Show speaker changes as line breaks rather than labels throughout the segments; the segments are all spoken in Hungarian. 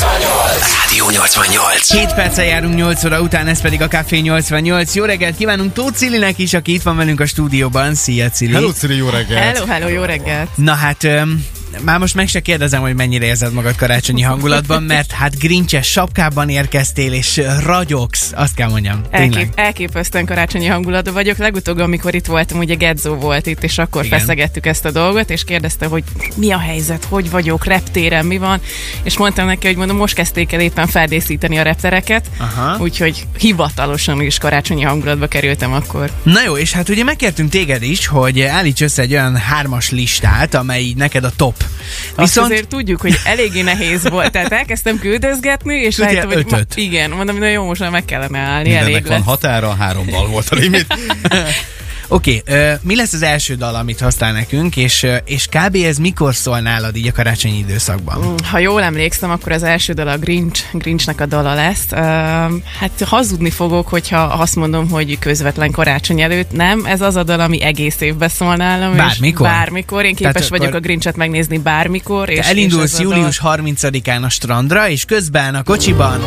Rádió 88.
Két perccel járunk 8 óra után, ez pedig a Café 88. Jó reggelt kívánunk Tóth Cilinek is, aki itt van velünk a stúdióban. Szia, Cili!
Hello, Ciri, jó reggelt!
Hello, hello, jó reggelt!
Na hát, öm, már most meg se kérdezem, hogy mennyire érzed magad karácsonyi hangulatban, mert hát grincses sapkában érkeztél, és ragyogsz, azt kell mondjam. Tényleg.
Elkép, elképesztően karácsonyi hangulatú vagyok. Legutóbb, amikor itt voltam, ugye Gedzó volt itt, és akkor
Igen.
Igen. feszegettük ezt a dolgot, és kérdezte, hogy mi a helyzet, hogy vagyok, reptéren mi van, és mondtam neki, hogy mondom, most kezdték el éppen feldészíteni a reptereket,
Aha.
úgyhogy hivatalosan is karácsonyi hangulatba kerültem akkor.
Na jó, és hát ugye megkértünk téged is, hogy állíts össze egy olyan hármas listát, amely így neked a top.
Viszont...
Viszont
Azt azért tudjuk, hogy eléggé nehéz volt. Tehát elkezdtem küldözgetni, és
Ugye
rájöttem, hogy ma,
ötöt.
igen, mondom, hogy jó, most már meg kellene állni, elég
Mindennek van
lesz.
határa, hárommal volt a limit.
Oké, okay, mi lesz az első dal, amit használ nekünk, és, ö, és kb. ez mikor szól nálad így a karácsonyi időszakban? Uh.
Ha jól emlékszem, akkor az első dal a Grinch, Grinchnek a dala lesz. Uh, hát hazudni fogok, hogyha azt mondom, hogy közvetlen karácsony előtt. Nem, ez az a dal, ami egész évben szól nálam.
Bármikor?
És bármikor. Én képes
Tehát
Tehát
akkor-
vagyok a Grinchet megnézni bármikor. És,
Te
és
elindulsz
ez a dal-
július 30-án a strandra, és közben a kocsiban...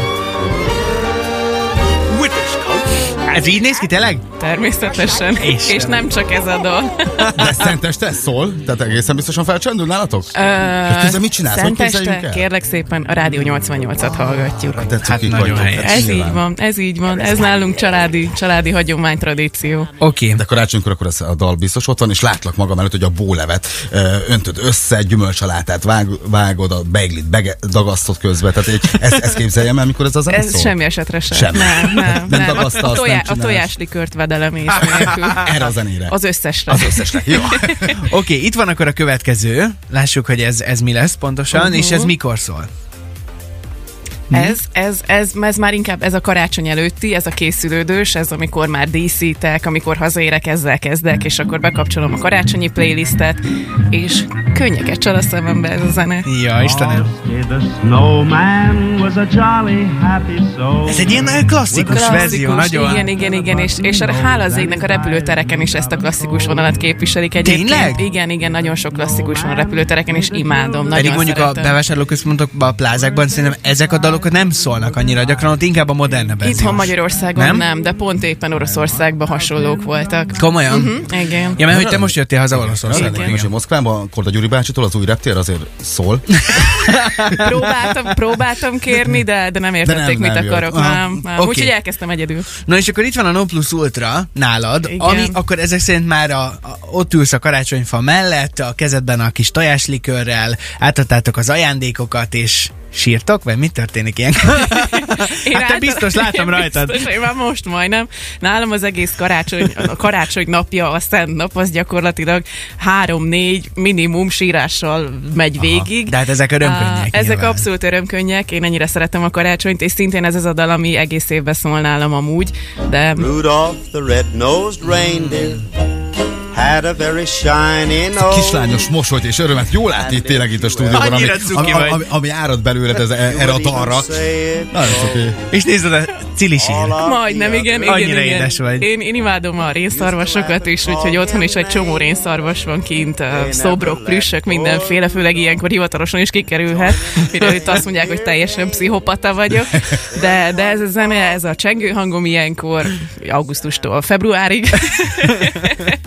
Ez így néz ki tényleg?
Természetesen.
Istenem.
És nem csak ez a dal.
De szenteste szól? Tehát egészen biztosan felcsendül nálatok? Hát közben mit csinálsz? Hogy képzeljünk
Szenteste,
el?
kérlek szépen, a Rádió 88-at hallgatjuk.
Hát, tetszik,
Hát
így
nagyon
vagytok,
helyes.
tehát
Ez
nyilván.
így van, ez így van. Ez nálunk családi, családi hagyomány, tradíció.
Oké.
De karácsonykor akkor ez a dal biztos ott van, és látlak magam előtt, hogy a bólevet ö, öntöd össze, gyümölcsalátát vág, vágod, a beiglit bege, dagasztod közbe. Tehát egy, ezt, ezt képzeljem el, mikor ez az
Ez semmi esetre sem.
Semmi.
Nem, nem,
Nem
nem.
dagasztalsz,
a,
nem
tojá- a
csinálsz.
tojáslikört vedelem és nélkül.
Erre a zenére.
Az összesre.
Az összesnek. Jó.
Oké, itt van akkor a következő. Lássuk, hogy ez, ez mi lesz pontosan, uh-huh. és ez
Mhm.
mikor szól.
Ez, ez, ez, ez már inkább ez a karácsony előtti, ez a készülődős, ez amikor már díszítek, amikor hazaérek, ezzel kezdek, és akkor bekapcsolom a karácsonyi playlistet, és könnyeket csal a szemembe ez a zene.
Ja, Istenem.
Frosty the snowman was a jolly happy soul.
Ez egy ilyen nagyon klasszikus, verzió, nagyon.
igen, igen, igen, és, és a hála az égnek a repülőtereken is ezt a klasszikus vonalat képviselik egyébként.
Tényleg?
Igen, igen, nagyon sok klasszikus van a repülőtereken, és imádom, nagyon
Pedig mondjuk
szeretem.
a bevásárlóközpontokban, a plázákban szerintem ezek a dalok nem szólnak annyira gyakran, ott inkább a modernebb
Itthon
verziós.
Magyarországon
Nem?
nem? nem, de pont éppen Oroszországban hasonlók voltak.
Komolyan?
Mhm.
Uh-huh.
Igen.
Ja, mert hogy te most jöttél haza Olaszországból.
Most én
igen.
Moszkvában, Korda Gyuri bácsitól az új reptér azért szól.
Próbáltam, próbáltam kérni, de, de nem értették,
nem, nem
mit
jött.
akarok.
Aha.
Nem, nem.
Oké.
Úgyhogy elkezdtem egyedül.
Na és akkor itt van a No Plus Ultra nálad, Igen.
Igen.
ami akkor ezek szerint már a, a, ott ülsz a karácsonyfa mellett, a kezedben a kis tojáslikörrel, átadtátok az ajándékokat, és sírtok, vagy mi történik ilyen?
Én
Hát te
által-
biztos, látom
Én
rajtad.
Biztos, én már most majdnem. Nálam az egész karácsony, a karácsony napja, a szent nap, az gyakorlatilag három-négy minimum sírással megy végig.
de hát ezek örömkönnyek
Á, Ezek
nyilván.
abszolút örömkönnyek, én ennyire szeretem a karácsonyt, és szintén ez az a dal, ami egész évben szól nálam amúgy, de
Rudolph the red-nosed reindeer had a very shiny nose.
Oh.
Kislányos mosolyt és örömet jól látni itt tényleg itt a stúdióban, ami,
Annyira cuki
ami,
vagy.
ami, ami árad belőled ez, e- erre a dalra. Nagyon cuki.
és nézd, a Cili sír.
Majdnem, igen, igen,
Annyira
igen.
édes vagy.
Én, én imádom a rénszarvasokat is, úgyhogy otthon is egy csomó rénszarvas van kint, ö, szobrok, plüssök, mindenféle, főleg ilyenkor hivatalosan is kikerülhet, mire itt azt mondják, hogy teljesen pszichopata vagyok, de, de ez a zene, ez a csengő hangom ilyenkor augusztustól februárig, de,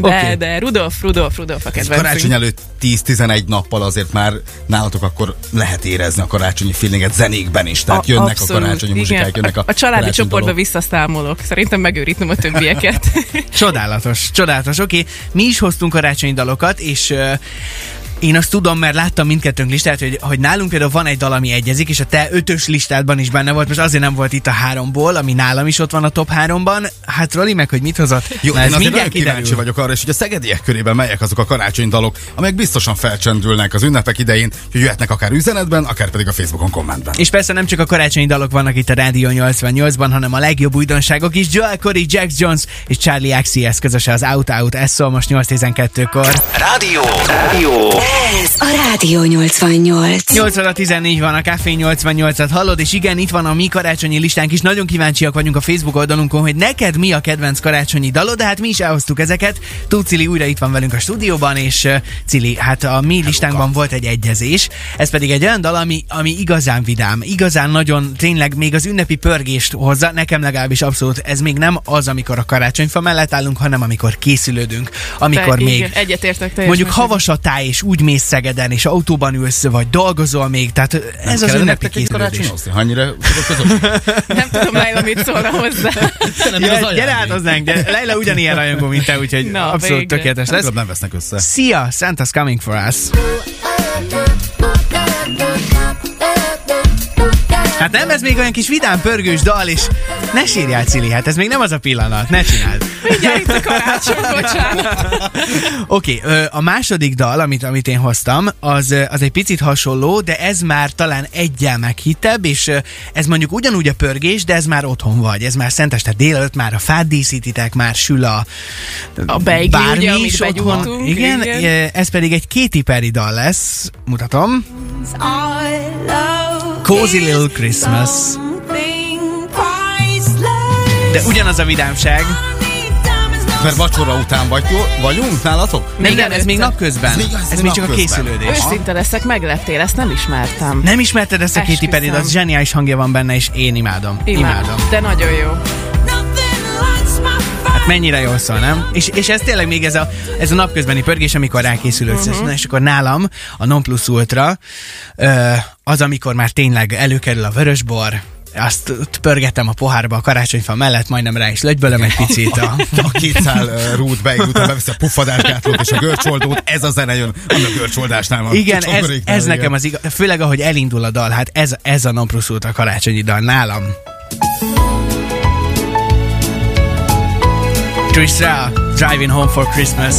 Oké.
okay. de Rudolf, Rudolf, Rudolf a
Ez
kedvencünk.
karácsony előtt 10-11 nappal azért már nálatok akkor lehet érezni a karácsonyi feelinget zenékben is. Tehát jönnek a karácsonyi muzsikák,
igen.
jönnek a,
a családi
karácsonyi
csoportba
dalok.
visszaszámolok. Szerintem megőrítem a többieket.
Csodálatos, csodálatos. Oké, okay. mi is hoztunk karácsonyi dalokat, és uh, én azt tudom, mert láttam mindkettőnk listát, hogy, hogy nálunk például van egy dal, ami egyezik, és a te ötös listádban is benne volt, most azért nem volt itt a háromból, ami nálam is ott van a top háromban. Hát Roli meg, hogy mit hozott?
Jó,
Na,
én azért nagyon kíváncsi vagyok arra, és hogy a szegediek körében melyek azok a karácsonyi dalok, amelyek biztosan felcsendülnek az ünnepek idején, hogy jöhetnek akár üzenetben, akár pedig a Facebookon kommentben.
És persze nem csak a karácsonyi dalok vannak itt a Rádió 88-ban, hanem a legjobb újdonságok is. Joel Corey, Jack Jones és Charlie XCS közöse az Out Out, ez szól most 8.12-kor.
Rádió. Rádió. Ez a Rádió 88.
8 óra 14 van, a Café 88-at hallod, és igen, itt van a mi karácsonyi listánk is. Nagyon kíváncsiak vagyunk a Facebook oldalunkon, hogy neked mi a kedvenc karácsonyi dalod, de hát mi is elhoztuk ezeket. Tóth Cili újra itt van velünk a stúdióban, és uh, Cili, hát a mi listánkban volt egy egyezés. Ez pedig egy olyan dal, ami, ami igazán vidám, igazán nagyon tényleg még az ünnepi pörgést hozza, nekem legalábbis abszolút ez még nem az, amikor a karácsonyfa mellett állunk, hanem amikor készülődünk, amikor
Te-
még
igen, Egyetértek teljesen.
Mondjuk havas a táj, és úgy mész Szegeden, és autóban ülsz, vagy dolgozol még, tehát ez az
kellene
ünnepi
nektek egy
készülés.
karácsonyozni? Ha annyira tudok közös?
Nem tudom, Laila mit szólna hozzá.
Nem, ez
Ja, gyere
az ajándék.
át hozzánk, gyere. Leila ugyanilyen rajongó, mint te, úgyhogy
Na,
abszolút
végre.
tökéletes lesz.
Legalább nem vesznek össze.
Szia, Santa's coming for us. Hát nem, ez még olyan kis vidám, pörgős dal, és ne sírjál, Cili, hát ez még nem az a pillanat, ne csináld.
Mindjárt itt a karácsony, bocsánat.
Oké, okay, a második dal, amit, amit én hoztam, az, ö, az egy picit hasonló, de ez már talán egyel meghittebb, és ö, ez mondjuk ugyanúgy a pörgés, de ez már otthon vagy, ez már szenteste délelőtt, már a fát díszítitek, már sül a
A beigli,
bármi
ugye, amit
is otthon.
begyújtunk.
Igen, igen, ez pedig egy Katy Perry dal lesz, mutatom. Cozy Little Christmas. De ugyanaz a vidámság.
Mert vacsora után vagy, jó, vagyunk nálatok?
Nem,
Még
nem, ez
előtte.
még napközben.
Ez még- ez
Ez
még
még csak a
napközben.
készülődés.
Őszinte leszek, megleptél, ezt nem ismertem.
Nem ismerted ezt a Katy
Esküszöm.
Perry-t, az zseniális hangja van benne, és én imádom. Imádom.
De nagyon jó.
Hát mennyire jól szól, nem? És, és ez tényleg még ez a, ez a napközbeni pörgés, amikor rákészül
Mhm.
uh-huh. Na, és akkor nálam a Non Plus Ultra ö, az, amikor már tényleg előkerül a vörösbor, azt ott pörgetem a pohárba a karácsonyfa mellett, majdnem rá is lögybölöm egy picit. A...
A két szál uh, rút beig után beviszi a puffadásgátlót és a görcsoldót, ez a zene jön, ami a görcsoldásnál van.
Igen,
Csak
ez,
akoriknál,
ez
igen.
nekem az igaz, főleg ahogy elindul a dal, hát ez, ez a Non Plus Ultra karácsonyi dal nálam. Tristra, Driving Home for Christmas.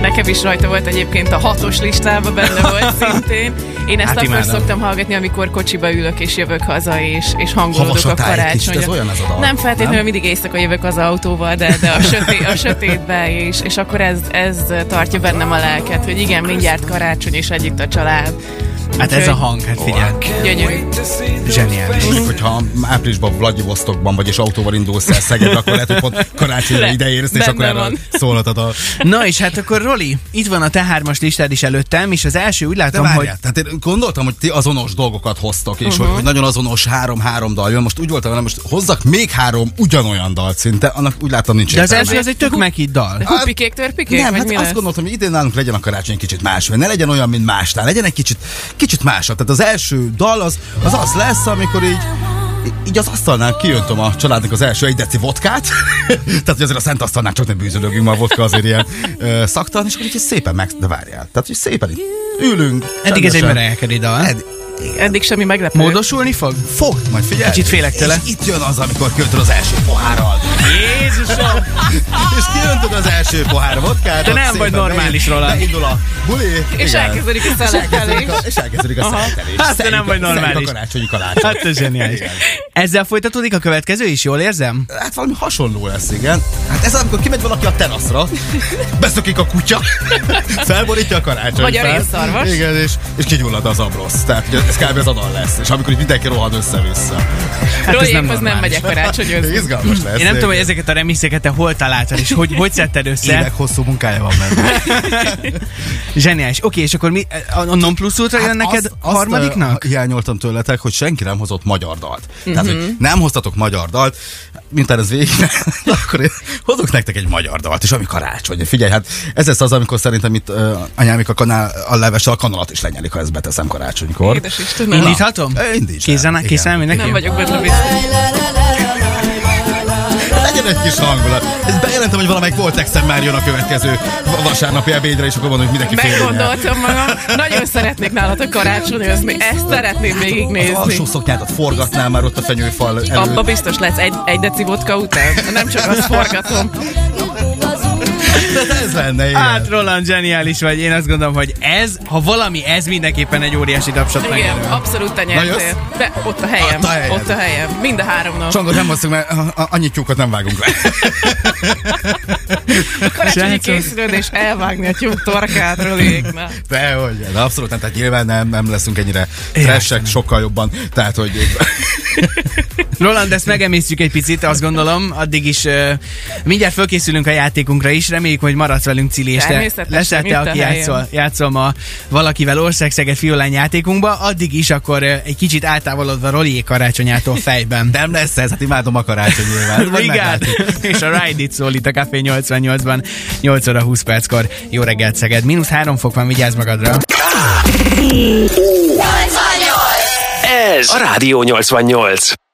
Nekem is rajta volt egyébként a hatos listában, benne volt szintén. Én
Hát
ezt hát akkor
imádom.
szoktam hallgatni, amikor kocsiba ülök és jövök haza, és, és hangolódok a
Havasatáj egy kicsit,
karácsonyon.
ez olyan ez a dal,
nem feltétlenül nem? mindig éjszaka jövök az autóval, de, de a, sötét, a sötétbe is, és akkor ez, ez tartja bennem a lelket, hogy igen, mindjárt karácsony, és együtt a család.
Hát ez
Úgyhogy
a hang, hát figyelj,
Gyönyörű.
zseniális.
Mondjuk, hogyha áprilisban Vladivostokban vagy és autóval indulsz el Szegedre, akkor lehet, hogy pont karácsonyra
Le-
ide érsz, és
benne
akkor erre
van.
szólhatod a...
Na és hát akkor Roli, itt van a te hármas listád is előttem, és az első úgy
De
látom, hogy...
várjál, tehát én gondoltam, hogy ti azonos dolgokat hoztok, és uh-huh. hogy nagyon azonos három-három dal jön. Most úgy voltam, hogy most hozzak még három ugyanolyan dalt szinte, annak úgy láttam nincs
De az
értelme.
első az egy tök meghitt dal.
Hupikék, törpikék?
Hát- Nem,
vagy
hát
mi
azt
lesz?
gondoltam, hogy idén nálunk legyen a karácsony kicsit más, hogy ne legyen olyan, mint másnál, legyen egy kicsit, kicsit másabb. Tehát az első dal az az, az lesz, amikor így így az asztalnál kijöntöm a családnak az első egy deci vodkát, tehát hogy azért a szent asztalnál csak nem bűzölögünk, ma a vodka azért ilyen ö, szaktalan, és akkor így szépen meg, de várjál, tehát hogy szépen így ülünk.
Eddig ez egy
csendesen.
merejelkedő dal.
Ed-
Eddig semmi meglepő.
Módosulni fog?
Fog, majd figyelj.
Kicsit félek tőle.
És itt jön az, amikor kiöntöd az első pohárral.
Jézusom!
És kiöntöd az első pohár vodkát.
Te nem vagy normális, Roland.
Beindul a buli.
És
igen.
elkezdődik a
És elkezdődik
szeletelés.
a- És elkezdődik a szeletelés.
Hát te
Szeljük
nem
a-
vagy
szeljük
normális.
a karácsonyi kalácsot.
Hát ez zseniális.
Igen.
Ezzel folytatódik a következő is, jól érzem?
Hát valami hasonló lesz, igen. Hát ez az, amikor kimegy valaki a teraszra, beszökik a kutya, felborítja a karácsony.
Vagy a rénszarvas.
Igen, és, és kigyullad az abrosz. Tehát ugye ez kb. az adal lesz. És amikor így mindenki rohad össze-vissza. Hát,
Hát ez nem
Rolyékhoz nem
normális.
megyek karácsonyozni.
Izgalmas lesz.
Én nem tudom, hogy ezeket a remixeket te hol találtad, és hogy, hogy szedted össze.
Évek hosszú munkája van benne.
Zseniális. Oké, és akkor mi, a a non plus ultra
Hát
jön neked harmadiknak? Mhm.
ö, hiányoltam tőletek, hogy senki nem hozott magyar dalt. Tehát, hogy nem hoztatok magyar dalt, mint ez végig, akkor én hozok nektek egy magyar dalt, és ami karácsony. Figyelj, hát ez lesz az, amikor szerintem itt uh, anyámik a, kanál, a levessel a kanalat is lenyelik, ha ezt beteszem karácsonykor.
Édes Istenem.
Indíthatom?
Ö, indítsd el.
Kézen,
Igen.
készen mindenki?
Nem vagyok benne biztos.
Legyen egy kis hangulat. Ezt bejelentem, hogy valamelyik volt exem már jön a következő vasárnapi ebédre, és akkor mondom, hogy mindenki fél.
Meggondoltam magam. Nagyon szeretnék nálatok karácsonyozni. Ezt szeretném
Az
végignézni.
alsó szoknyádat forgatnál már ott a fenyőfal előtt.
Abba biztos lesz egy, egy deci vodka után. Nem csak azt forgatom.
Hát ez lenne, igen.
Hát Roland, zseniális vagy. Én azt gondolom, hogy ez, ha valami, ez mindenképpen egy óriási tapsot
Igen,
megjelöl.
abszolút te
Na,
nyertél.
jössz?
De ott a helyem.
Ott a helyed.
Ott a helyem. Mind a három nap.
Csongot nem hoztunk, mert a- a- annyi tyúkot nem vágunk le.
Karácsonyi
Srácok.
készülődés elvágni a tyúk torkát, Rolék. Na.
Dehogy, de abszolút nem, tehát nyilván nem, nem leszünk ennyire
Értem.
trashek, sokkal jobban. Tehát, hogy
Roland, ezt megemésztjük egy picit, azt gondolom. Addig is uh, mindjárt fölkészülünk a játékunkra is. Reméljük, hogy maradsz velünk, Cili, és te
Természetesen,
leszel
itt
te,
a
aki
helyem.
játszol, játszol ma valakivel országszeget fiolány játékunkba. Addig is akkor uh, egy kicsit eltávolodva Rolié karácsonyától fejben.
nem lesz ez, hát imádom a karácsony nyilván. Vagy
Brigád
meglátjuk.
és a Ride It szól itt a Café 88-ban 8 óra 20 perckor. Jó reggelt Szeged, mínusz 3 fok van, vigyázz magadra.
Ez a Rádió 88.